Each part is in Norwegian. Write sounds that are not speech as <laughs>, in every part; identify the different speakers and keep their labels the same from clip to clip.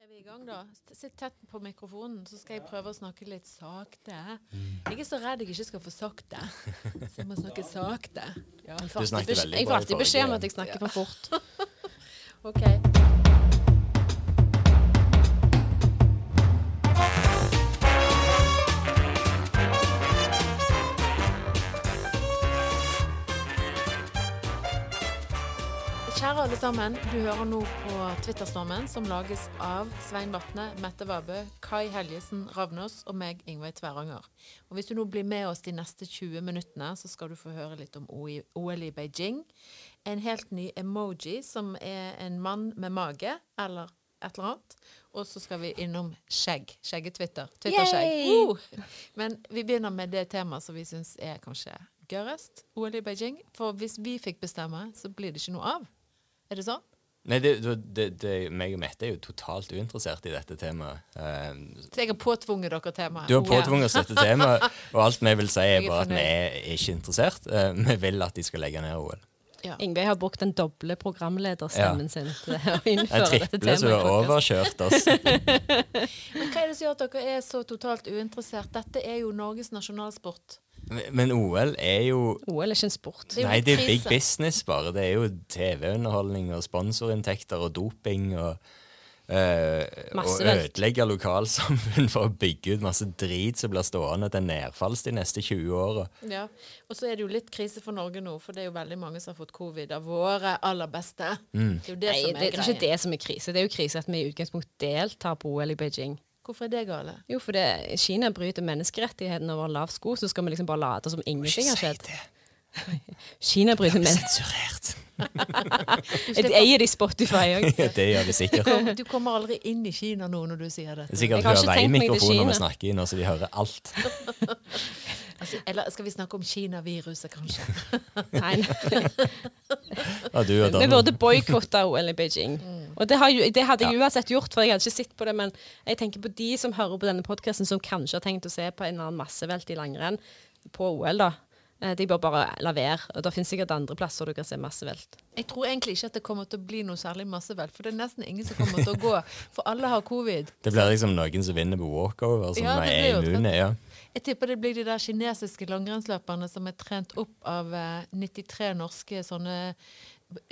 Speaker 1: Er vi i gang, da? S- Sitt tett på mikrofonen, så skal jeg prøve å snakke litt sakte.
Speaker 2: Mm.
Speaker 1: Jeg er så redd jeg ikke skal få sagt det. Så jeg må snakke sakte. jeg får alltid
Speaker 2: snakket
Speaker 1: besk-
Speaker 2: veldig
Speaker 1: jeg
Speaker 2: bra
Speaker 1: får
Speaker 2: i
Speaker 1: alltid
Speaker 2: forrige
Speaker 1: beskjed om
Speaker 2: gang.
Speaker 1: at jeg snakker for fort. OK.
Speaker 2: <laughs>
Speaker 1: Kjære alle sammen, du hører nå på Twitterstormen, som lages av Svein Vatne, Mette Vabø, Kai Helgesen Ravnås og meg, Ingveig Tveranger. Og Hvis du nå blir med oss de neste 20 minuttene, så skal du få høre litt om OI OL i Beijing. En helt ny emoji, som er en mann med mage, eller et eller annet. Og så skal vi innom skjegg. Skjeggetwitter. Twitterskjegg.
Speaker 3: Yay!
Speaker 1: Uh! Men vi begynner med det temaet som vi syns er kanskje gørrest. OL i Beijing. For hvis vi fikk bestemme, så blir det ikke noe av. Er det sånn?
Speaker 2: Nei, det, det, det, det, meg og Mette er jo totalt uinteressert i dette temaet. Eh,
Speaker 1: Så jeg har påtvunget dere temaet.
Speaker 2: Du har påtvunget oss dette
Speaker 1: <laughs>
Speaker 2: temaet, og alt vi vil si,
Speaker 1: Jeg
Speaker 2: er
Speaker 1: er
Speaker 2: bare at vi er
Speaker 1: fornøyd.
Speaker 2: ikke interessert. Eh, Vi vil at de skal legge ned OL.
Speaker 1: Ja.
Speaker 4: Ingveig har brukt den doble programlederstemmen
Speaker 2: Ja.
Speaker 4: sin til å innføre
Speaker 2: En
Speaker 4: dette
Speaker 2: triple
Speaker 4: temaet.
Speaker 2: som
Speaker 4: i
Speaker 2: har
Speaker 4: podcasten.
Speaker 2: overkjørt oss.
Speaker 1: <laughs> Men hva er det som gjør at dere er så totalt uinteressert? Dette er jo Norges nasjonalsport.
Speaker 2: Men- Men OL er jo
Speaker 4: OL er ikke en sport.
Speaker 1: er jo
Speaker 2: Nei, det er big
Speaker 1: krise.
Speaker 2: business, bare. Det er jo TV-underholdning og sponsorinntekter og doping og eh,
Speaker 4: Masse
Speaker 2: og
Speaker 4: velt.
Speaker 2: ødelegge lokalsamfunn for å bygge ut masse drit som blir stående til nedfalls de neste 20 åra.
Speaker 1: Ja. Og så er det jo litt krise for Norge nå, for det er jo veldig mange som har fått covid av våre aller beste.
Speaker 2: Mm.
Speaker 1: Det er jo det
Speaker 4: Nei,
Speaker 1: som er
Speaker 4: det, det er ikke
Speaker 1: greien.
Speaker 4: det som er krise. Det er jo krise at vi i utgangspunkt deltar på OL i Beijing.
Speaker 1: Hvorfor er det gale?
Speaker 4: Jo, for det, Kina bryter menneskerettighetene over lav sko, så skal vi liksom bare late som ingenting har skjedd. Kina bryter
Speaker 2: Sensurert!
Speaker 4: menneskerettighetene.
Speaker 2: <laughs>
Speaker 4: Jeg eier de Spotify òg.
Speaker 2: Ja, det gjør de sikkert.
Speaker 1: Kom, du kommer aldri inn i Kina nå når du sier
Speaker 2: Det
Speaker 1: dette.
Speaker 2: er
Speaker 4: Jeg
Speaker 2: sikkert
Speaker 4: har ikke tenkt meg til
Speaker 2: høveimikrofoner vi
Speaker 4: Kina.
Speaker 2: snakker i nå, så de hører
Speaker 4: <laughs>
Speaker 2: alt.
Speaker 1: Altså, eller skal vi snakke om Kina-viruset, kanskje?
Speaker 4: Nei, nei.
Speaker 2: Ja, du og
Speaker 4: Vi
Speaker 2: Donald.
Speaker 4: burde boikotte OL i
Speaker 1: <laughs>
Speaker 4: Beijing.
Speaker 1: Mm.
Speaker 4: Og det, har jo, det hadde jeg uansett gjort, for jeg hadde ikke sett på det. Men jeg tenker på de som hører på denne podkasten, som kanskje har tenkt å se på en eller annen massevelt i langrenn på OL, da. Eh, De bør bare la være. Og det finnes sikkert andre plasser du kan se massevelt.
Speaker 1: Jeg tror egentlig ikke at det kommer til å bli noe særlig massevelt, for det er nesten ingen som kommer til å gå. For alle har covid.
Speaker 2: Det blir liksom noen som vinner på walkover, som
Speaker 1: Ja, det
Speaker 2: er
Speaker 1: blir jo
Speaker 2: immune. Ja.
Speaker 1: Jeg tipper det blir de der kinesiske langrennsløperne som er trent opp av eh, 93 norske sånne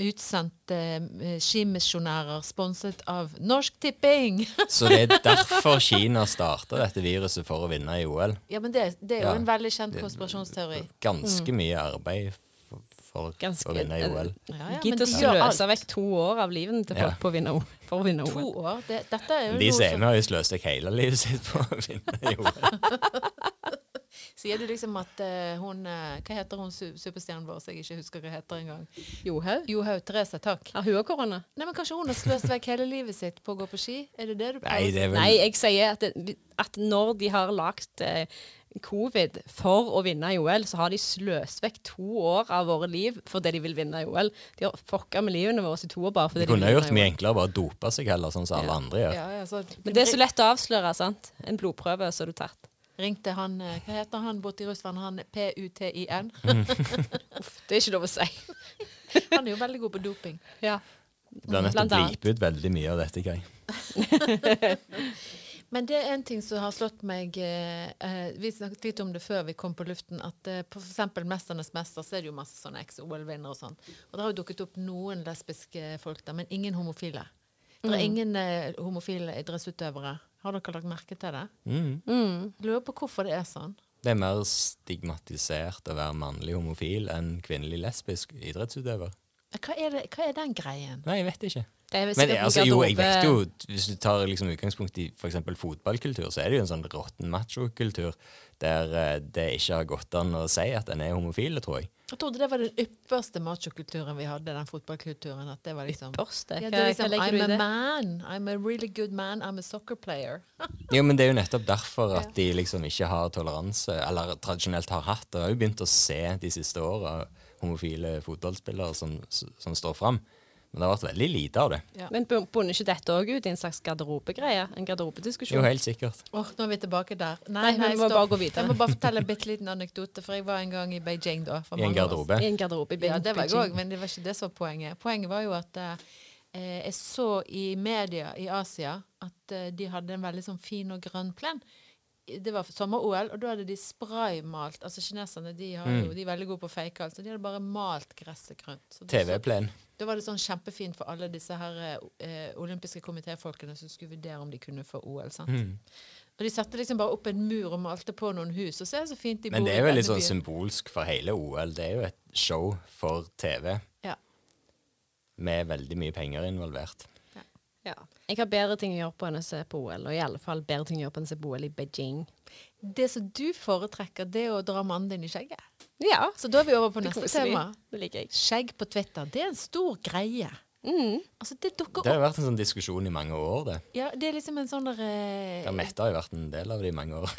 Speaker 1: utsendte eh, skimisjonærer sponset av Norsk Tipping! <laughs>
Speaker 2: Så det er derfor Kina starta dette viruset, for å vinne i OL.
Speaker 1: ja, men det, det er jo
Speaker 2: Ja.
Speaker 1: en veldig kjent konspirasjonsteori.
Speaker 2: Ganske mye arbeid for, for
Speaker 4: Mm. Ganske- eh,
Speaker 2: å vinne i OL.
Speaker 1: Ja, ja, men
Speaker 4: Gidd å
Speaker 1: de gjør alt.
Speaker 4: sløse vekk to år av livet til folk
Speaker 2: Ja.
Speaker 4: på å vinne, O- for å vinne
Speaker 1: To
Speaker 4: OL.
Speaker 1: år. Det, dette er jo
Speaker 2: De
Speaker 1: noe
Speaker 2: som er
Speaker 1: som
Speaker 4: <laughs>
Speaker 2: med, har jo sløst vekk hele livet sitt på å vinne i OL.
Speaker 1: Sier du liksom at eh, hun eh, Hva heter hun su- superstjernen vår som jeg ikke husker hva heter engang?
Speaker 4: Johaug?
Speaker 1: Johaug Therese, takk.
Speaker 4: Har hun òg korona?
Speaker 1: Nei, men Kanskje hun har sløst vekk hele livet sitt på å gå på ski? Er det det du
Speaker 2: Nei, det er vel
Speaker 4: Nei, jeg sier at, det, at når de har lagd eh, covid for å vinne i OL, så har de sløst vekk to år av våre liv fordi de vil vinne i OL. De har fucka med livene våre i to år bare fordi
Speaker 2: De
Speaker 4: de,
Speaker 2: kunne
Speaker 4: vil
Speaker 2: jo
Speaker 4: vinne
Speaker 2: gjort
Speaker 4: i OL.
Speaker 2: mye enklere bare å dope seg heller, sånn som alle andre gjør.
Speaker 1: Ja, ja, så,
Speaker 4: Men det er så lett å avsløre, sant? En blodprøve så er du tatt.
Speaker 1: Ringte han eh, Hva heter han borte i Russland? Han PUTIN?
Speaker 4: Det er ikke lov å si.
Speaker 1: <laughs> han er jo veldig god på doping.
Speaker 4: Ja.
Speaker 2: Det blir nødt til å blipe ut veldig mye av dette. Kai.
Speaker 1: Men det er en ting som har slått meg eh, eh, Vi snakket litt om det før vi kom på luften, at eh, på f.eks. Mesternes mester så er det jo masse sånne eks-OL-vinnere og sånn. Og det har jo dukket opp noen lesbiske folk der, men ingen homofile. Det er
Speaker 4: Mm.
Speaker 1: ingen eh, homofile idrettsutøvere. Har dere lagt merke til det?
Speaker 2: Mm.
Speaker 4: Mm.
Speaker 1: Lurer på hvorfor det er sånn.
Speaker 2: Det er mer stigmatisert å være mannlig homofil enn kvinnelig lesbisk idrettsutøver.
Speaker 1: Eh, Hva er, det, hva er den greien?
Speaker 2: Nei, jeg vet ikke.
Speaker 4: Det er
Speaker 2: Men
Speaker 4: sikkert
Speaker 2: altså, jo, jeg
Speaker 4: garderobe-
Speaker 2: vet jo, Hvis du tar liksom utgangspunkt i for eksempel fotballkultur, så er det jo en sånn råtten machokultur der eh, det ikke har gått an å si at en er homofil, tror jeg.
Speaker 1: Jeg trodde det var den ypperste machokulturen vi hadde, den fotballkulturen. At det var liksom
Speaker 4: Børste.
Speaker 1: Ja,
Speaker 4: Hva,
Speaker 1: det er liksom,
Speaker 4: hva legger
Speaker 1: I'm
Speaker 4: du i
Speaker 1: a
Speaker 4: det?
Speaker 1: man. I'm a really good man. I'm a soccer player.
Speaker 2: Jo, men Det er jo nettopp derfor at de liksom ikke har toleranse, eller tradisjonelt har hatt. Og jeg har jo begynt å se de siste åra homofile fotballspillere som, som står fram. Men det har vært veldig lite av det.
Speaker 1: Ja.
Speaker 4: Men bu- bunner ikke dette òg ut i en slags garderobegreie? En garderobediskusjon?
Speaker 2: Jo, helt sikkert.
Speaker 1: Åh, nå er vi tilbake der.
Speaker 4: Nei, vi må
Speaker 1: stopp.
Speaker 4: bare gå videre.
Speaker 1: Jeg må bare fortelle en bitte liten anekdote, for jeg var en gang i Beijing da. For
Speaker 2: I en
Speaker 1: mange år
Speaker 2: garderobe.
Speaker 4: I en garderobe i
Speaker 1: siden. Ja, det var jeg
Speaker 4: Beijing.
Speaker 1: òg, men det var ikke det som var poenget. Poenget var jo at eh, eh, jeg så i media i Asia at eh, de hadde en veldig sånn fin og grønn plen. Det var sommer-OL, og da hadde de spraymalt Altså kineserne de, har jo,
Speaker 2: Mm.
Speaker 1: de er veldig gode på å fake alt, så de hadde bare malt gresset grønt. Så det så-
Speaker 2: TV-plen.
Speaker 1: da var det sånn kjempefint for alle disse her eh, olympiske komitéfolkene som skulle vurdere om de kunne få OL. sant?
Speaker 2: Mm.
Speaker 1: Og de satte liksom bare opp en mur og malte på noen hus, og så er det så fint de
Speaker 2: Men
Speaker 1: bor
Speaker 2: det
Speaker 1: i
Speaker 2: er vel litt
Speaker 1: denne
Speaker 2: sånn
Speaker 1: byen.
Speaker 2: symbolsk for hele OL. Det er jo et show for TV
Speaker 1: Ja.
Speaker 2: med veldig mye penger involvert.
Speaker 4: Ja. Jeg har bedre ting å gjøre på enn å se på OL, og i alle fall bedre ting å gjøre på enn å se på OL i Beijing.
Speaker 1: Det som du foretrekker, det er å dra mannen din i skjegget.
Speaker 4: Ja,
Speaker 1: Så da er vi over på
Speaker 4: det
Speaker 1: neste
Speaker 4: koser vi.
Speaker 1: tema.
Speaker 4: Det liker jeg.
Speaker 1: Skjegg på Twitter, det er en stor greie. Altså, det dukker
Speaker 2: Det
Speaker 1: opp.
Speaker 2: har jo vært en sånn diskusjon i mange år, det.
Speaker 1: Ja, det er liksom en sånn der eh,
Speaker 2: Ja, Mette har jo vært en del av det i mange år.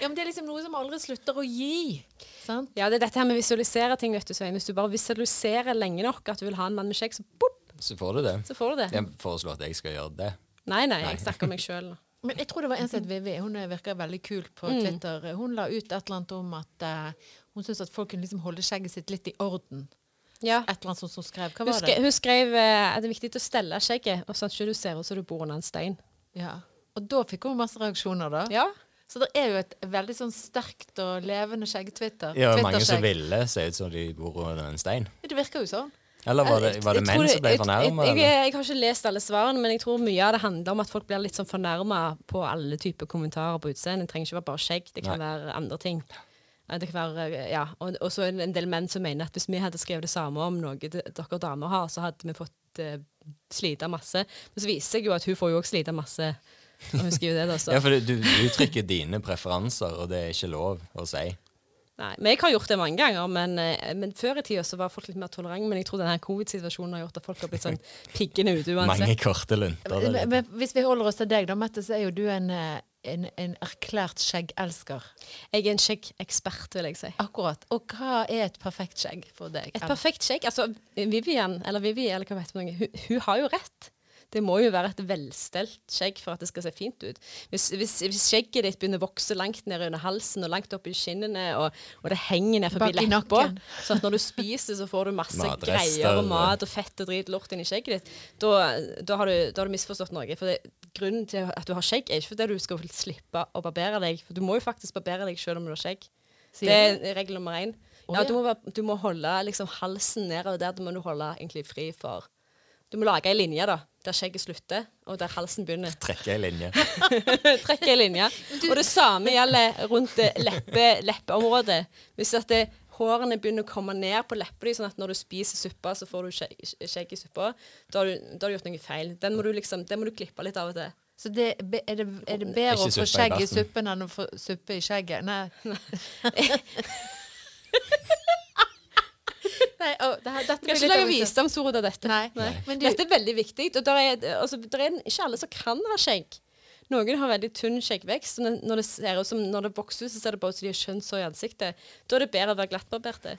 Speaker 1: Ja, men det er liksom noe som aldri slutter å gi. Sant?
Speaker 4: Ja, det er dette her med å visualisere ting, vet du, Svein. Hvis du bare visualiserer lenge nok at du vil ha en mann med skjegg, så, boop,
Speaker 2: <laughs> Så får du det.
Speaker 4: så får du det.
Speaker 2: Jeg foreslår at jeg skal gjøre det.
Speaker 4: Nei, nei, jeg snakker om meg
Speaker 1: <laughs>
Speaker 4: sjøl.
Speaker 1: Men jeg tror det var en som
Speaker 4: Mhm.
Speaker 1: het Vivi. Hun eh, virker veldig kul på
Speaker 4: Mm.
Speaker 1: Twitter. Hun la ut et eller annet om at eh, hun syntes at folk kunne liksom holde skjegget sitt litt i orden.
Speaker 4: Ja.
Speaker 1: Et eller annet som hun skrev. Hva
Speaker 4: Hun,
Speaker 1: var
Speaker 4: skre,
Speaker 1: det?
Speaker 4: hun skrev eh, at det er viktig å stelle skjegget, og sånn at du ikke ser ut som du bor under en stein.
Speaker 1: Ja. Og da fikk hun masse reaksjoner, da.
Speaker 4: Ja.
Speaker 1: Så det er jo et veldig sånn sterkt og levende skjegg-Twitter.
Speaker 2: Ja, mange som
Speaker 1: Twitter-skjegg.
Speaker 2: ville se ut som de bor under en stein.
Speaker 1: Det virker jo sånn.
Speaker 2: Eller var det, var det
Speaker 4: Jeg tror
Speaker 2: menn som ble
Speaker 4: jeg-
Speaker 2: fornærma?
Speaker 4: Jeg, jeg, jeg, har ikke lest alle svarene, men jeg tror mye av det handler om at folk blir litt sånn fornærma på alle typer kommentarer på utseendet. Det trenger ikke være bare skjegg, det kan være andre ting. Eh, Det kan være, eh, ja, og, og så er det en del menn som mener at hvis vi hadde skrevet det samme om noe de- dere damer har, så hadde vi fått uh, slite masse. Men så viser det seg jo at hun får jo òg slite masse. Når hun skriver det, da. Så.
Speaker 2: <laughs> Ja, for du du uttrykker dine preferanser, og det er ikke lov å si.
Speaker 4: Nei, men jeg har gjort det mange ganger, men, eh, men før i tida så var folk litt mer tolerante. Men jeg tror denne covid-situasjonen har gjort at folk har blitt sånn piggende ute
Speaker 2: Mange
Speaker 4: uansett.
Speaker 2: korte lunter.
Speaker 1: Men,
Speaker 2: der.
Speaker 1: men hvis vi holder oss til deg, da, Mette, så er jo du en, eh, en, en erklært skjeggelsker.
Speaker 4: Jeg er en skjeggekspert, vil jeg si.
Speaker 1: Akkurat. Og hva er et perfekt skjegg for deg?
Speaker 4: Et perfekt skjegg. Altså, Vivian, eller Vivi, eller hva vet man, hun, hun har jo rett. Det må jo være et velstelt skjegg for at det skal se fint ut. Hvis, hvis, hvis skjegget ditt begynner å vokse langt ned under halsen og langt opp i skinnene, og, og det henger ned forbi
Speaker 1: Bak i
Speaker 4: leppa,
Speaker 1: nakken.
Speaker 4: så at når du spiser, så får du masse
Speaker 2: Matrester.
Speaker 4: greier og mat og fett og drit lort inn i skjegget ditt, da, da, har, du, da har du misforstått noe. For det, grunnen til at du har skjegg, er ikke fordi du skal slippe å barbere deg, for du må jo faktisk barbere deg selv om du har skjegg.
Speaker 1: Sier
Speaker 4: det
Speaker 1: du?
Speaker 4: er regel nummer én.
Speaker 1: Å,
Speaker 4: ja,
Speaker 1: ja.
Speaker 4: du, må, være- du må holde liksom, halsen nedover der. Du må du holde egentlig fri for Du må lage ei linje da, der skjegget slutter, og der halsen
Speaker 1: <laughs>
Speaker 4: begynner.
Speaker 2: Trekker ei linje.
Speaker 4: Trekk ei linje. Og det samme gjelder rundt eh, leppe, leppeområdet. Hvis at det, hårene begynner å komme ned på leppene, sånn at når du spiser suppa, så får du skjegg, skjegg i suppa, da har du, da har du gjort noe feil. Den må du, liksom, den må du klippe litt av og til.
Speaker 1: Så det, be- er, det, er det bedre
Speaker 2: Ikke
Speaker 1: å få
Speaker 2: suppe i
Speaker 1: skjegg i
Speaker 2: bæsjen.
Speaker 1: suppen enn å få suppe i skjegget? Nei.
Speaker 2: <laughs>
Speaker 1: Nei, å, det her, dette
Speaker 4: Kan
Speaker 1: blir
Speaker 4: ikke
Speaker 1: litt av
Speaker 4: lage
Speaker 1: en- sånn-
Speaker 4: visdomsord av dette.
Speaker 1: Nei. Men du-
Speaker 4: dette er veldig viktig. Og der er, altså, der er ikke alle som kan ha skjegg. Noen har veldig tynn skjeggvekst. og Når når det, ser ut som, når det vokser ut, så ser det bare ut som de har kjønnshår i ansiktet. Da er det bedre å være glattbarberte.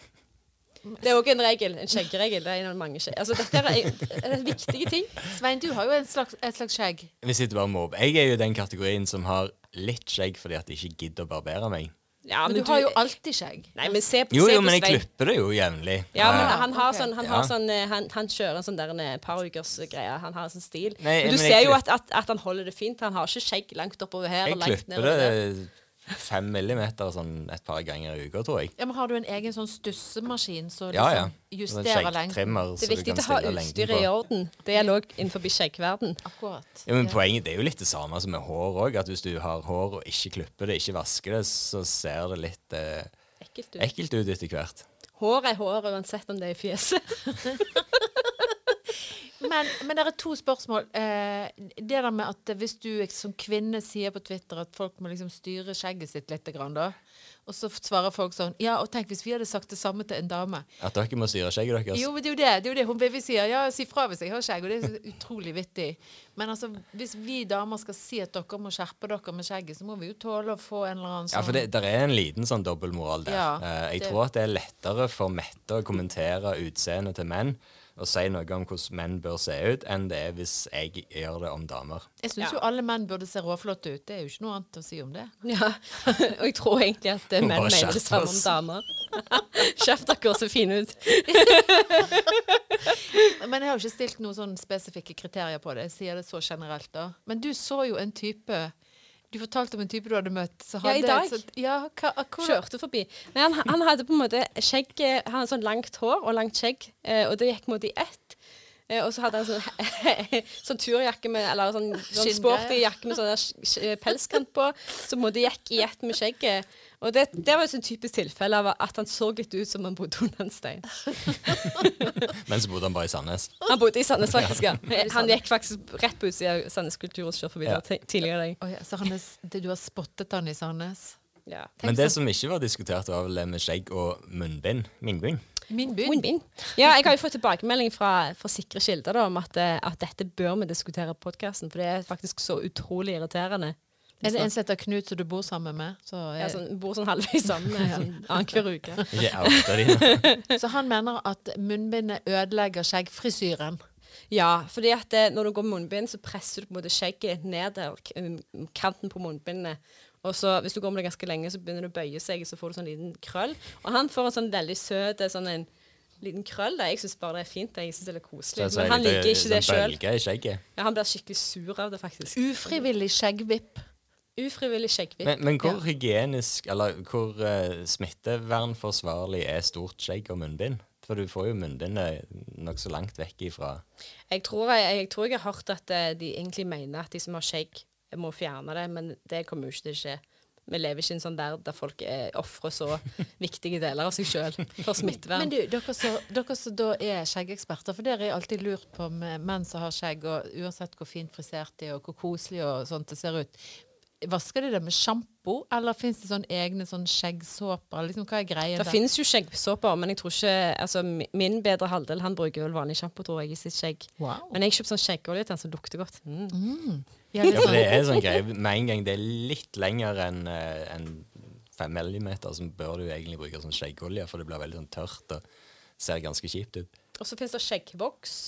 Speaker 4: Det er òg en regel. En skjeggregel. Det er en av mange skjegg. Altså, dette er, er viktige ting.
Speaker 1: Svein, du har jo en slags, et slags skjegg.
Speaker 2: Vi sitter bare og mobber. Jeg er jo den kategorien som har litt skjegg fordi at jeg ikke gidder å barbere meg.
Speaker 4: Ja,
Speaker 1: Men du har jo alltid skjegg.
Speaker 4: Nei, men se,
Speaker 2: Jo,
Speaker 4: se
Speaker 2: jo,
Speaker 4: på
Speaker 2: men jeg
Speaker 4: Svein.
Speaker 2: klipper det jo jevnlig.
Speaker 4: Ja, men
Speaker 2: Eh,
Speaker 4: han har
Speaker 1: ok.
Speaker 4: sånn, han, har
Speaker 2: Ja.
Speaker 4: sånn eh, han, han kjører en sånn der en, eh, parukers greie. Han har en sånn stil.
Speaker 2: Nei,
Speaker 4: men
Speaker 2: men
Speaker 4: du
Speaker 2: jeg
Speaker 4: ser jo
Speaker 2: klipper-
Speaker 4: at, at, at han holder det fint. Han har ikke skjegg langt oppover her
Speaker 2: jeg
Speaker 4: og langt
Speaker 2: klipper
Speaker 4: nedover der.
Speaker 2: det fem millimeter sånn et par ganger i uka, tror jeg.
Speaker 1: Ja, men har du en egen sånn stussemaskin som
Speaker 2: Ja, ja.
Speaker 1: liksom justerer lengden?
Speaker 2: Skjeggtrimmer
Speaker 4: Det
Speaker 2: så
Speaker 4: er
Speaker 2: du
Speaker 4: viktig
Speaker 2: kan
Speaker 4: å ha
Speaker 2: stille lengden
Speaker 4: utstyret i
Speaker 2: på.
Speaker 4: orden. Det gjelder òg innenfor skjeggverden.
Speaker 1: Akkurat.
Speaker 2: Ja, men
Speaker 1: Ja.
Speaker 2: Poenget det er jo litt det samme som med hår òg. At hvis du har hår og ikke klipper det, ikke vasker det, så ser det litt eh,
Speaker 4: Ekkelt ut.
Speaker 2: ekkelt ut etter hvert.
Speaker 4: Hår er hår uansett om det er i fjeset.
Speaker 1: Men, men det er to spørsmål. Eh, det der med at hvis du som kvinne sier på Twitter at folk må liksom styre skjegget sitt litt, grann, da, og så svarer folk sånn Ja, og tenk hvis vi hadde sagt det samme til en dame.
Speaker 2: At dere må styre skjegget deres.
Speaker 1: Jo, men det er jo det. det, er jo det. Hun baby sier ja, si fra hvis jeg har skjegg, og det er så utrolig vittig. Men altså, hvis vi damer skal si at dere må skjerpe dere med skjegget, så må vi jo tåle å få en eller annen sånn
Speaker 2: Ja, for det der er en liten sånn dobbeltmoral der.
Speaker 1: Ja,
Speaker 2: Eh, jeg
Speaker 1: det-
Speaker 2: tror at det er lettere for Mette å kommentere utseendet til menn og si noe om hvordan menn bør se ut, enn det er hvis jeg gjør det om damer.
Speaker 1: Jeg syns jo alle menn burde se råflotte ut. Det er jo ikke noe annet å si om det.
Speaker 4: <laughs> Ja. Og jeg tror egentlig at eh,
Speaker 2: Må
Speaker 4: menn
Speaker 2: bare
Speaker 4: mener det
Speaker 2: skjerpe
Speaker 4: samme om
Speaker 2: oss.
Speaker 4: damer. <laughs> Skjerp dere og se fine ut.
Speaker 1: Men jeg har jo ikke stilt noen sånn spesifikke kriterier på det. Jeg sier det så generelt, da. Men du så jo en type Du fortalte om en type du hadde møtt. Så
Speaker 4: Ja,
Speaker 1: hadde,
Speaker 4: i dag.
Speaker 1: Så, ja, hva, hva, hvordan-
Speaker 4: Kjørte forbi. Nei, han, han hadde på en måte skjegg eh, Han hadde sånn langt hår og langt skjegg, eh, og det gikk på en måte i ett. Eh, Og så hadde han sånn, <laughs> sånn turjakke med Eller sånn, sånn
Speaker 1: Skinngreier.
Speaker 4: sporty jakke med sånn der sk- sk- pelskant på, som på en måte gikk i ett med skjegget. Og det, det var et sånn typisk tilfelle av at han så litt ut som han bodde under en stein.
Speaker 2: Men så bodde han bare i Sandnes.
Speaker 4: Han bodde i Sandnes, faktisk. ja. Han gikk faktisk rett på utsida av Sandnes kulturhus kjør forbi
Speaker 2: Ja.
Speaker 4: der ti- tidligere i dag.
Speaker 1: Å ja, så han er, s- det, du har spottet han i Sandnes?
Speaker 4: Ja.
Speaker 2: Men det som ikke var diskutert, var vel det med skjegg og munnbind. Mingbing.
Speaker 1: Min by.
Speaker 4: Win-win. Ja, jeg har jo fått tilbakemelding fra, fra sikre kilder da, om at, eh, at dette bør vi diskutere i podkasten, for det er faktisk så utrolig irriterende.
Speaker 1: Er det en som heter Knut som du bor sammen med? Så, eh,
Speaker 4: Ja,
Speaker 1: er,
Speaker 4: sånn, bor sånn halvveis sammen eh, sånn, annenhver uke.
Speaker 2: Ikke outa de.
Speaker 1: så han mener at munnbindet ødelegger skjeggfrisyren.
Speaker 4: Ja, fordi at eh, når du går med munnbind, så presser du på en måte skjegget ned der, k- um, kanten på munnbindet. Og så Hvis du går med det ganske lenge, så begynner det å bøye seg, så får du sånn liten krøll. Og han får en sånn veldig søt eh, sånn en liten krøll. Da. Jeg syns bare det er fint. Jeg synes det er litt koselig.
Speaker 2: Så
Speaker 4: Men han
Speaker 2: det er
Speaker 4: liker ikke det
Speaker 2: sånn
Speaker 4: sjøl.
Speaker 2: bølger i skjegget.
Speaker 4: Ja, han blir skikkelig sur av det, faktisk.
Speaker 1: Ufrivillig skjeggvipp.
Speaker 4: Ufrivillig skjeggvipp.
Speaker 2: Men, men hvor hygienisk, eller hvor eh, smittevernforsvarlig er stort skjegg og munnbind? For du får jo munnbindet nokså langt vekk ifra
Speaker 4: Jeg tror jeg, jeg tror jeg har hørt at eh, de egentlig mener at de som har skjegg, eh, må fjerne det, men det kommer jo ikke til å skje. Vi lever ikke i en sånn der der folk eh, ofrer
Speaker 1: <laughs>
Speaker 4: så viktige deler av seg sjøl for smittevern.
Speaker 1: Men du, dere som dere som da er skjeggeksperter, for dere er alltid lurt på med menn som har skjegg, og uansett hvor fint frisert de er, og hvor koselig og sånt det ser ut. Vasker de det med sjampo, eller fins det sånn egne sånn skjeggsåper? Liksom, hva er greia
Speaker 4: Det finnes jo skjeggsåper, men jeg tror ikke altså, mi- Min bedre halvdel han bruker vel vanlig sjampo, tror jeg, i sitt skjegg.
Speaker 1: Wow.
Speaker 4: Men jeg kjøper sånn skjeggolje til han som lukter godt. Mm.
Speaker 1: Ja,
Speaker 2: Ja, for det
Speaker 1: liksom,
Speaker 2: er sånn greie. Med en gang det er litt lenger enn eh, enn fem millimeter, så bør du egentlig bruke sånn skjeggolje, for det blir veldig sånn tørt og ser ganske kjipt ut.
Speaker 4: Og så finnes det skjeggvoks.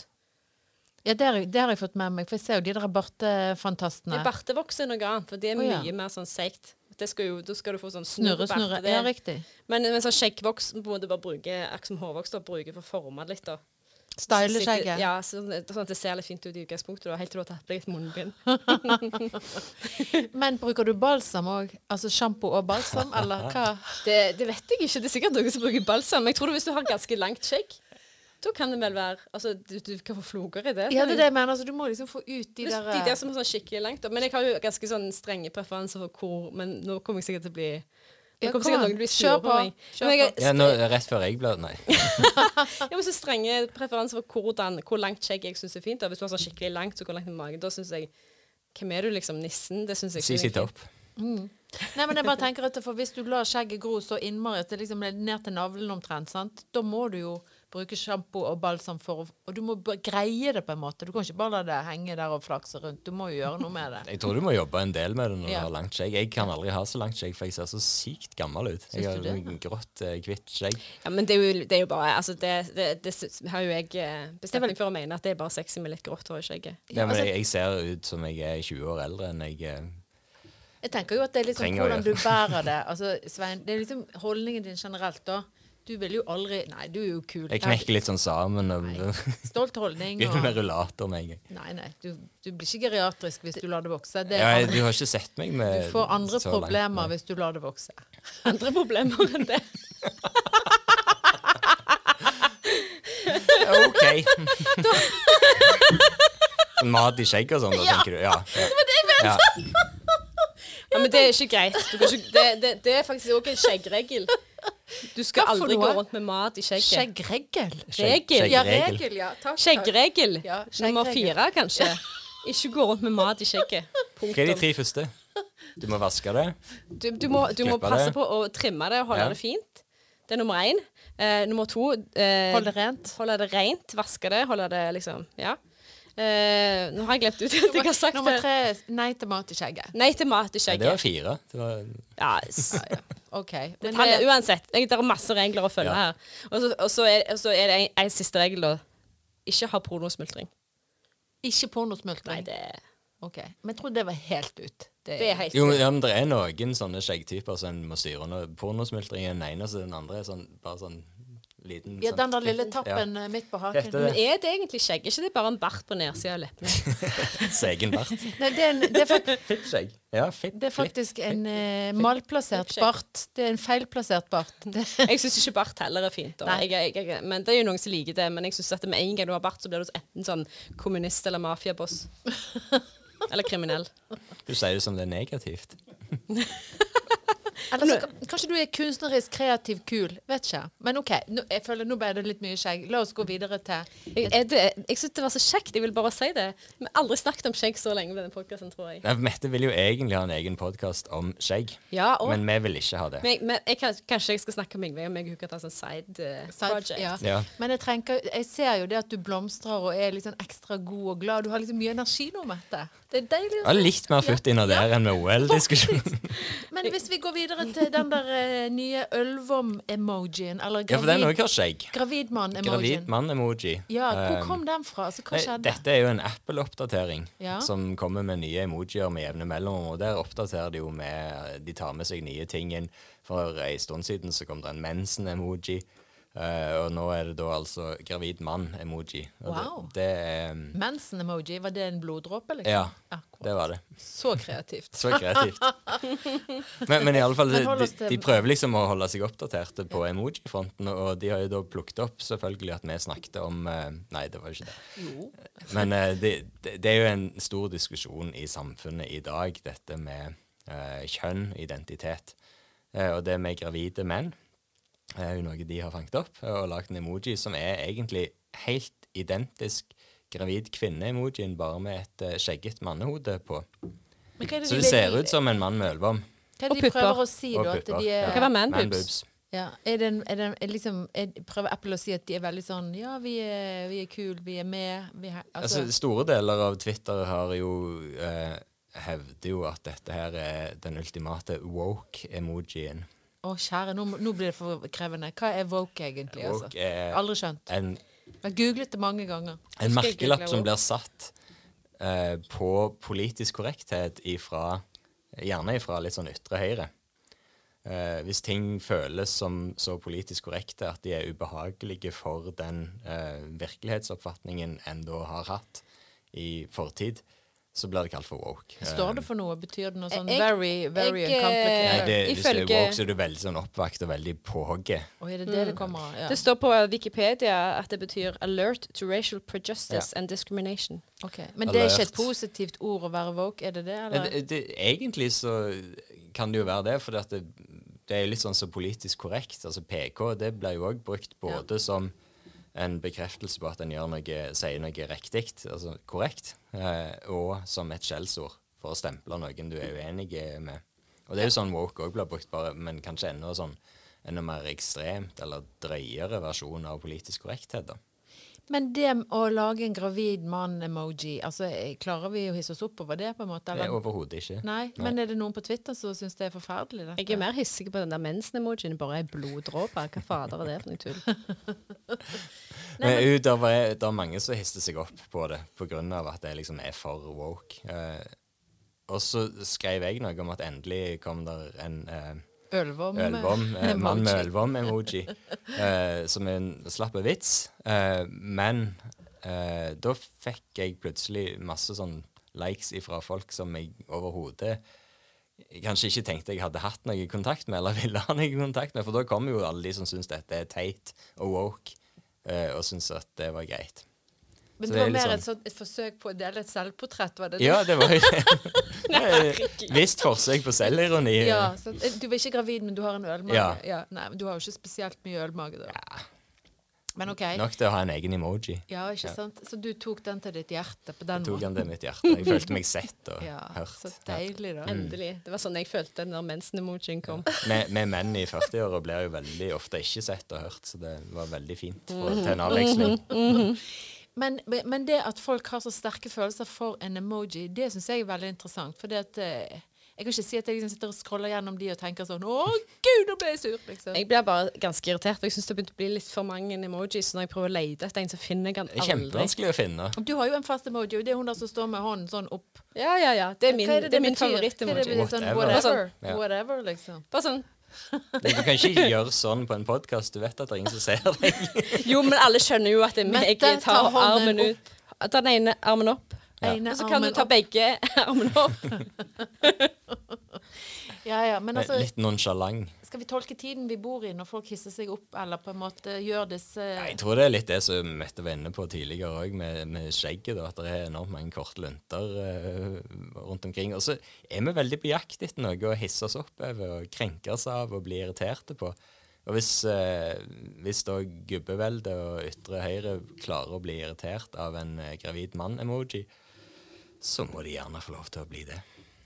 Speaker 1: ja det, har, jeg- det har jeg fått med meg, for jeg ser jo de der bartefantastene.
Speaker 4: Men Bartevoks er noe annet, for det er
Speaker 1: Å, ja.
Speaker 4: mye mer sånn seigt. Det skal jo, da skal du få sånn
Speaker 1: Snurre,
Speaker 4: snurrebart.
Speaker 1: snurre.
Speaker 4: Det
Speaker 1: Ja,
Speaker 4: er-
Speaker 1: riktig.
Speaker 4: Men, men sånn skjeggvoks må du bare bruke akkurat som hårvoks da, bruke for å forme det litt. da.
Speaker 1: Style
Speaker 4: Så sikkert-
Speaker 1: skjegget.
Speaker 4: Ja, sånn, sånn at det ser litt fint ut i utgangspunktet, da, helt til du har tatt på deg et
Speaker 1: <laughs>
Speaker 4: munnbind.
Speaker 1: Men bruker du balsam òg? Altså sjampo og balsam, eller hva?
Speaker 4: <laughs> Det, det vet jeg ikke, det er sikkert noen som bruker balsam. Men jeg tror hvis du har ganske langt skjegg, da kan det vel være altså, du, du kan få floker i det.
Speaker 1: Ja, det er det jeg mener. Altså, du må liksom få ut de
Speaker 4: Hvis-
Speaker 1: der eh,
Speaker 4: de der som er sånn skikkelig langt da. Men jeg har jo ganske sånn strenge preferanser for hvor Men nå kommer jeg sikkert til å bli
Speaker 1: Ja,
Speaker 4: Nå kommer
Speaker 1: kom
Speaker 4: sikkert
Speaker 1: an.
Speaker 4: noen til å bli
Speaker 1: Kjør
Speaker 4: sure
Speaker 1: på.
Speaker 4: på meg.
Speaker 1: Kjør
Speaker 4: Men jeg
Speaker 1: på.
Speaker 4: har
Speaker 2: Ja, nå, rett før jeg ble Nei.
Speaker 4: Ja, men så strenge preferanser for hvordan, hvor langt skjegg jeg syns er fint. Da. Hvis du har sånn skikkelig langt, så går langt med magen. Da syns jeg Hvem er du, liksom? Nissen? Det syns jeg
Speaker 2: CC
Speaker 4: egentlig-
Speaker 2: Topp.
Speaker 1: Mm. Nei, men jeg bare tenker at for Hvis du lar skjegget gro så innmari at det liksom er ned til navlen omtrent, sant? da må du jo bruke sjampo og balsam for å Og du må b- greie det på en måte. Du kan ikke bare la det henge der og flakse rundt. Du må jo gjøre noe med det.
Speaker 2: Jeg tror du må jobbe en del med det når
Speaker 1: Ja.
Speaker 2: du har langt skjegg. Jeg kan aldri ha så langt skjegg, for jeg ser så sykt gammel ut. Jeg
Speaker 4: Syns
Speaker 2: har
Speaker 4: du det?
Speaker 2: noen grått, eh, hvitt skjegg.
Speaker 4: Ja, men det er jo, det er jo bare altså det, det, det syns- har jo jeg eh, bestemt meg for å mene at det er bare sexy med litt grått hår i
Speaker 1: <laughs>
Speaker 4: skjegget.
Speaker 2: Nei, men jeg,
Speaker 1: altså-
Speaker 2: jeg ser ut som jeg er 20 år eldre enn jeg eh,
Speaker 1: Jeg tenker jo at det er liksom
Speaker 2: Trenger å
Speaker 1: hvordan du
Speaker 2: gjøre.
Speaker 1: bærer det. Altså, Svein, det er liksom holdningen din generelt, da. Du vil jo aldri Nei, du er jo kul.
Speaker 2: Jeg knekker litt sånn sammen og <laughs>
Speaker 1: Stolt holdning
Speaker 2: begynner med
Speaker 1: og
Speaker 2: rullator med en gang.
Speaker 1: Nei, nei. Du, du blir ikke geriatrisk hvis du lar det vokse. Det er
Speaker 2: Ja, jeg-
Speaker 1: andre-
Speaker 2: du har ikke sett meg med
Speaker 1: Du får andre
Speaker 2: så langt,
Speaker 1: problemer
Speaker 2: nei.
Speaker 1: hvis du lar det vokse.
Speaker 4: Andre problemer enn det.
Speaker 1: <laughs>
Speaker 2: OK. <laughs> Sånn mat i skjegg og sånn, da tenker du? Ja. ja. Ja.
Speaker 4: Ja, men det er ikke greit. Du kan ikke, det, det, det er faktisk òg en skjeggregel. Du skal
Speaker 1: Hva for
Speaker 4: aldri gå
Speaker 1: noe?
Speaker 4: rundt med mat i skjegget.
Speaker 1: Skjeggregel.
Speaker 2: Skjegg-
Speaker 4: Regel.
Speaker 1: Ja,
Speaker 2: skjeggregel.
Speaker 1: regel, ja. Takk.
Speaker 4: Skjeggregel
Speaker 1: Ja, skjeggregel.
Speaker 4: nummer fire, kanskje. Ikke gå rundt med mat i skjegget.
Speaker 2: Hva er de tre første? Du må vaske det.
Speaker 4: Du, du, må, du må
Speaker 2: Klippe
Speaker 4: passe
Speaker 2: det.
Speaker 4: på å trimme det og holde
Speaker 2: Ja.
Speaker 4: det fint. Det er nummer én. Eh, nummer to eh,
Speaker 1: Hold det rent.
Speaker 4: Holde det rent, vaske det, holde det liksom Ja. Eh, nå har jeg glemt ut at jeg har sagt
Speaker 1: Nummer
Speaker 4: det.
Speaker 1: tre nei til mat i skjegget.
Speaker 4: Nei til mat i
Speaker 2: Nei, det var
Speaker 4: skjegget.
Speaker 2: fire. Det var, <laughs>
Speaker 4: Ja, s-
Speaker 1: OK. Men eh,
Speaker 4: detaljer.
Speaker 1: det,
Speaker 4: uansett, jeg- det er masse regler å følge
Speaker 2: Ja.
Speaker 4: her. Og så, og så er, og så er det en, en siste regel, da. Ikke ha pornosmultring.
Speaker 1: ikke
Speaker 4: Nei,
Speaker 1: pornosmultring.
Speaker 4: det,
Speaker 1: OK. Men jeg trodde det var helt ut. Det,
Speaker 4: det er helt
Speaker 2: jo, men- ja, men det er noen sånne skjeggtyper som en må styre under. Pornosmultring er den ene, så den andre er sånn, bare sånn liten
Speaker 1: ja,
Speaker 2: sånn-
Speaker 1: den der
Speaker 2: <laughs>
Speaker 1: lille tappen eh, midt på haken.
Speaker 2: Dette er
Speaker 4: Men er det egentlig skjegg? Er ikke det bare en bart på nedsida av leppene?
Speaker 2: segen bart.
Speaker 1: Nei, det, er en, det, er fak-
Speaker 2: Fippskjegg. Ja, fipp.
Speaker 1: det er faktisk en eh, malplassert bart. Det er en feilplassert bart. Det,
Speaker 4: Jeg syns ikke bart heller er fint. Da. Jeg, jeg, jeg, men det er jo noen som liker det, men jeg synes at med en gang du har bart, så blir du enten sånn kommunist eller <laughs> mafiaboss. Eller kriminell.
Speaker 2: Du sier det som det er negativt.
Speaker 1: eller så, kan- kanskje du er kunstnerisk kreativ kul. Vet ikke. Men OK, nå, jeg føler nå ble det litt mye skjegg. La oss gå videre til
Speaker 4: Jeg, er det, jeg syns det var så kjekt. Jeg vil bare si det. Vi har aldri snakket om skjegg så lenge på denne podkasten, tror jeg.
Speaker 2: Nei, Mette vil jo egentlig ha en egen podkast om skjegg,
Speaker 4: Ja, og
Speaker 2: men vi vil ikke ha det.
Speaker 4: men, jeg- men jeg, kan- kanskje jeg skal snakke med Yngve om jeg kan ta en sånn side eh, project.
Speaker 1: Ja.
Speaker 2: Ja.
Speaker 1: Men jeg, trenger, jeg ser jo det at du blomstrer og er litt sånn ekstra god og glad. Du har liksom mye energi nå, Mette. Det er deilig. å
Speaker 2: Ja, litt mer futt inn og der enn med
Speaker 1: <laughs>
Speaker 2: OL-diskusjonen.
Speaker 1: se. Men hvis vi går videre til den der eh, nye ølvom-emojien, eller
Speaker 2: Ja, for den òg
Speaker 1: gravid,
Speaker 2: har skjegg. Gravid
Speaker 1: gravidmann-emojien
Speaker 2: mann-emoji.
Speaker 1: Ja, hvor kom den fra? Altså, hva
Speaker 2: Eh, Nei,
Speaker 1: skjedde?
Speaker 2: Dette er jo en Apple-oppdatering
Speaker 1: Ja.
Speaker 2: som kommer med nye emojier med jevne mellomrom. Og der oppdaterer de jo med De tar med seg nye ting inn. For en stund siden så kom det en mensen-emoji. eh, og nå er det da altså gravid mann-emoji. Og
Speaker 1: Wow.
Speaker 2: Det, det er um,
Speaker 1: Mensen-emoji, var det en bloddråpe, liksom?
Speaker 2: Ja,
Speaker 1: Akkurat.
Speaker 2: det var det.
Speaker 1: Så kreativt.
Speaker 2: Så kreativt. Men, men i alle fall,
Speaker 1: Men hold
Speaker 2: de,
Speaker 1: oss til-
Speaker 2: de prøver liksom å holde seg oppdaterte på emoji-fronten, og de har jo da plukket opp selvfølgelig at vi snakket om eh, Nei, det var jo ikke det. Men eh, det, det, det er jo en stor diskusjon i samfunnet i dag, dette med eh, kjønn, identitet, Eh, og det med gravide menn eh, er jo noe de har fanget opp eh, og lagd en emoji som er egentlig helt identisk gravid kvinne-emojien, bare med et eh, skjegget mannehode på.
Speaker 1: <laughs> Men hva er det
Speaker 2: Så
Speaker 1: de
Speaker 2: det
Speaker 1: vil-
Speaker 2: ser ut som en mann med ølvarm.
Speaker 1: Hva er
Speaker 4: Og
Speaker 1: det de prøver
Speaker 4: pupper.
Speaker 1: å si,
Speaker 2: Og
Speaker 1: da? At
Speaker 2: pupper.
Speaker 1: de er
Speaker 4: Det kan være man-boobs.
Speaker 2: Man-boobs.
Speaker 1: Ja, er det en, er det en, er liksom, er, Prøver Apple å si at de er veldig sånn Ja, vi er, vi er kul, vi er med vi er, altså,
Speaker 2: Altså, store deler av Twitter har jo eh, hevder jo at dette her er den ultimate woke-emojien.
Speaker 1: Å, kjære, nå, må- nå blir det for krevende. Hva er woke egentlig? Altså?
Speaker 2: Woke er-
Speaker 1: Aldri skjønt.
Speaker 2: En,
Speaker 1: Jeg har googlet det mange ganger.
Speaker 2: en
Speaker 4: skal jeg google
Speaker 2: merkelapp som
Speaker 4: woke?
Speaker 2: blir satt eh, på politisk korrekthet ifra, gjerne ifra litt sånn ytre høyre. Eh, hvis ting føles som så politisk korrekte at de er ubehagelige for den eh, virkelighetsoppfatningen en da har hatt i fortid, så blir det kalt for woke.
Speaker 1: Står det for noe? Betyr det noe sånn
Speaker 4: Jeg-
Speaker 1: very, very
Speaker 4: jeg,
Speaker 1: uncomplicated?
Speaker 4: eh,
Speaker 2: Nei, det, hvis du er
Speaker 4: Ifølge-
Speaker 2: woke, så er du veldig sånn oppvakt og veldig på hogget.
Speaker 1: Å, er det det Mm. det kommer av? Ja.
Speaker 4: Det står på Wikipedia at det betyr 'alert to racial prejudice and discrimination'.
Speaker 1: Ok. Men det er ikke et
Speaker 2: Alert.
Speaker 1: positivt ord å være woke, er det det?
Speaker 2: Ja,
Speaker 1: Eller?
Speaker 2: Eh, det, det, egentlig så kan det jo være det, for det, det er jo litt sånn så politisk korrekt. Altså PK, det blir jo òg brukt både som en bekreftelse på at en gjør noe, sier noe riktig, altså korrekt, eh, og som et skjellsord. for å stemple noen du er uenig med. Og det er jo sånn woke òg blir brukt, bare, men kanskje enda sånn enda mer ekstremt eller drøyere versjon av politisk korrekthet. da.
Speaker 1: Men det å lage en gravid mann-emoji, altså eh, klarer vi å hisse oss opp over det? på en måte?
Speaker 2: Det
Speaker 1: eller?
Speaker 2: er overhodet ikke.
Speaker 1: Nei, men er det noen på Twitter som syns det er forferdelig? Dette?
Speaker 4: Jeg er mer hissig på den der mensen-emojien. Bare ei bloddråpe. Hva fader er det for
Speaker 1: <laughs>
Speaker 4: noe tull?
Speaker 2: Men utover er- det er mange som hister seg opp på det pga. at det liksom er for woke. Eh, og så skrev jeg noe om at endelig kom der en eh,
Speaker 1: Ølvom.
Speaker 2: ølvom, eh, mann med
Speaker 1: emoji.
Speaker 2: ølvom-emoji, eh, som er en slapp vits. Eh, men eh, da fikk jeg plutselig masse sånn likes ifra folk som jeg overhodet kanskje ikke tenkte jeg hadde hatt noe kontakt med, eller ville ha noe kontakt med, for da kommer jo alle de som syns dette er teit og woke, eh, og syns at det var greit.
Speaker 1: Men det
Speaker 2: Så det er
Speaker 1: var
Speaker 2: litt
Speaker 1: mer
Speaker 2: sånn-
Speaker 1: et, sånt, et forsøk på å dele et selvportrett, var det det?
Speaker 2: Ja, det var jo
Speaker 1: <laughs>
Speaker 2: et visst forsøk på selvironi.
Speaker 1: Ja, så, eh, du var ikke gravid, men du har en ølmage. Ja.
Speaker 2: Ja.
Speaker 1: nei, men du har jo ikke spesielt mye ølmage, da. Men OK.
Speaker 2: Nok til å ha en egen emoji.
Speaker 1: Ja, ikke sant? Så du tok den til ditt hjerte på den
Speaker 2: Jeg tok
Speaker 1: måten?
Speaker 2: han til mitt hjerte. Jeg følte meg sett og
Speaker 1: Ja, så
Speaker 2: hørt.
Speaker 1: deilig, da.
Speaker 2: Mm.
Speaker 4: Endelig. Det var sånn jeg følte når mensen-emojien kom.
Speaker 2: Vi vi menn i 40-åra blir jo veldig ofte ikke sett og hørt, så det var veldig fint for,
Speaker 1: Mm.
Speaker 2: til en avveksling.
Speaker 1: <laughs> Men, men det at folk har så sterke følelser for en emoji, det syns jeg er veldig interessant. For det at eh, Jeg kan ikke si at jeg liksom sitter og scroller gjennom de og tenker sånn Å, gud, nå ble jeg sur! Liksom.
Speaker 4: Jeg blir bare ganske irritert. for Jeg syns det har begynt å bli litt for mange emojis. Så når jeg prøver å lete etter en, så finner jeg
Speaker 2: Det er
Speaker 4: den aldri.
Speaker 2: kjempevanskelig å finne.
Speaker 1: Du har jo en fast emoji, og det er hun der som står med hånden sånn opp.
Speaker 4: Ja, ja, ja. Det er min,
Speaker 1: Hva
Speaker 4: det er min
Speaker 1: betyr? Hva er det
Speaker 4: favoritt-emoji.
Speaker 1: betyr? Sånn,
Speaker 2: Whatever.
Speaker 1: whatever,
Speaker 2: Ja.
Speaker 1: whatever, liksom.
Speaker 4: Bare sånn
Speaker 2: Du kan ikke gjøre sånn på en podkast. Du vet at det er ingen som ser deg.
Speaker 4: Jo, men alle skjønner jo at det er meg.
Speaker 1: Mette,
Speaker 4: Jeg
Speaker 1: ta
Speaker 4: tar
Speaker 1: hånden
Speaker 4: armen ut. Ta den ene armen opp.
Speaker 1: Ene
Speaker 4: Og så kan du
Speaker 1: armen
Speaker 4: ta
Speaker 1: opp.
Speaker 4: begge <laughs> armene opp.
Speaker 1: Ja, ja, men altså,
Speaker 2: Litt nonsjalant.
Speaker 1: Skal vi tolke tiden vi bor i, når folk hisser seg opp, eller på en måte gjør disse
Speaker 2: Ja, Jeg tror det er litt det som Mette var inne på tidligere òg, med, med skjegget. Da, at det er enormt mange korte lunter eh, rundt omkring. Og så er vi veldig på jakt etter noe å hisse oss opp over og krenke oss av og bli irriterte på. Og hvis, eh, hvis da gubbeveldet og ytre høyre klarer å bli irritert av en eh, gravid mann-emoji, så må de gjerne få lov til å bli det.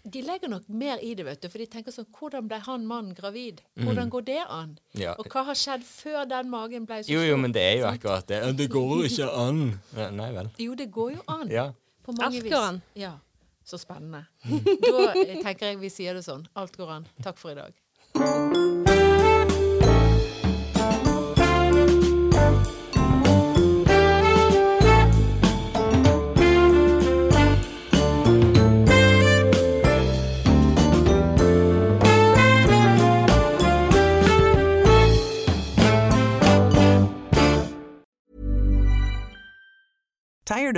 Speaker 1: De legger nok mer i det, vet du, for de tenker sånn Hvordan ble han mannen gravid? Hvordan går det an?
Speaker 2: Mm. Ja.
Speaker 1: Og hva har skjedd før den magen ble så
Speaker 2: Jo,
Speaker 1: stor?
Speaker 2: jo, men det er jo akkurat det. Det går jo ikke an! Nei, nei vel.
Speaker 1: Jo, det går jo an.
Speaker 2: Ja.
Speaker 1: På mange
Speaker 4: Alt
Speaker 1: vis.
Speaker 4: går an.
Speaker 1: Ja. Så spennende.
Speaker 2: <laughs>
Speaker 1: da eh, tenker jeg vi sier det sånn. Alt går an. Takk for i dag.
Speaker 5: Tired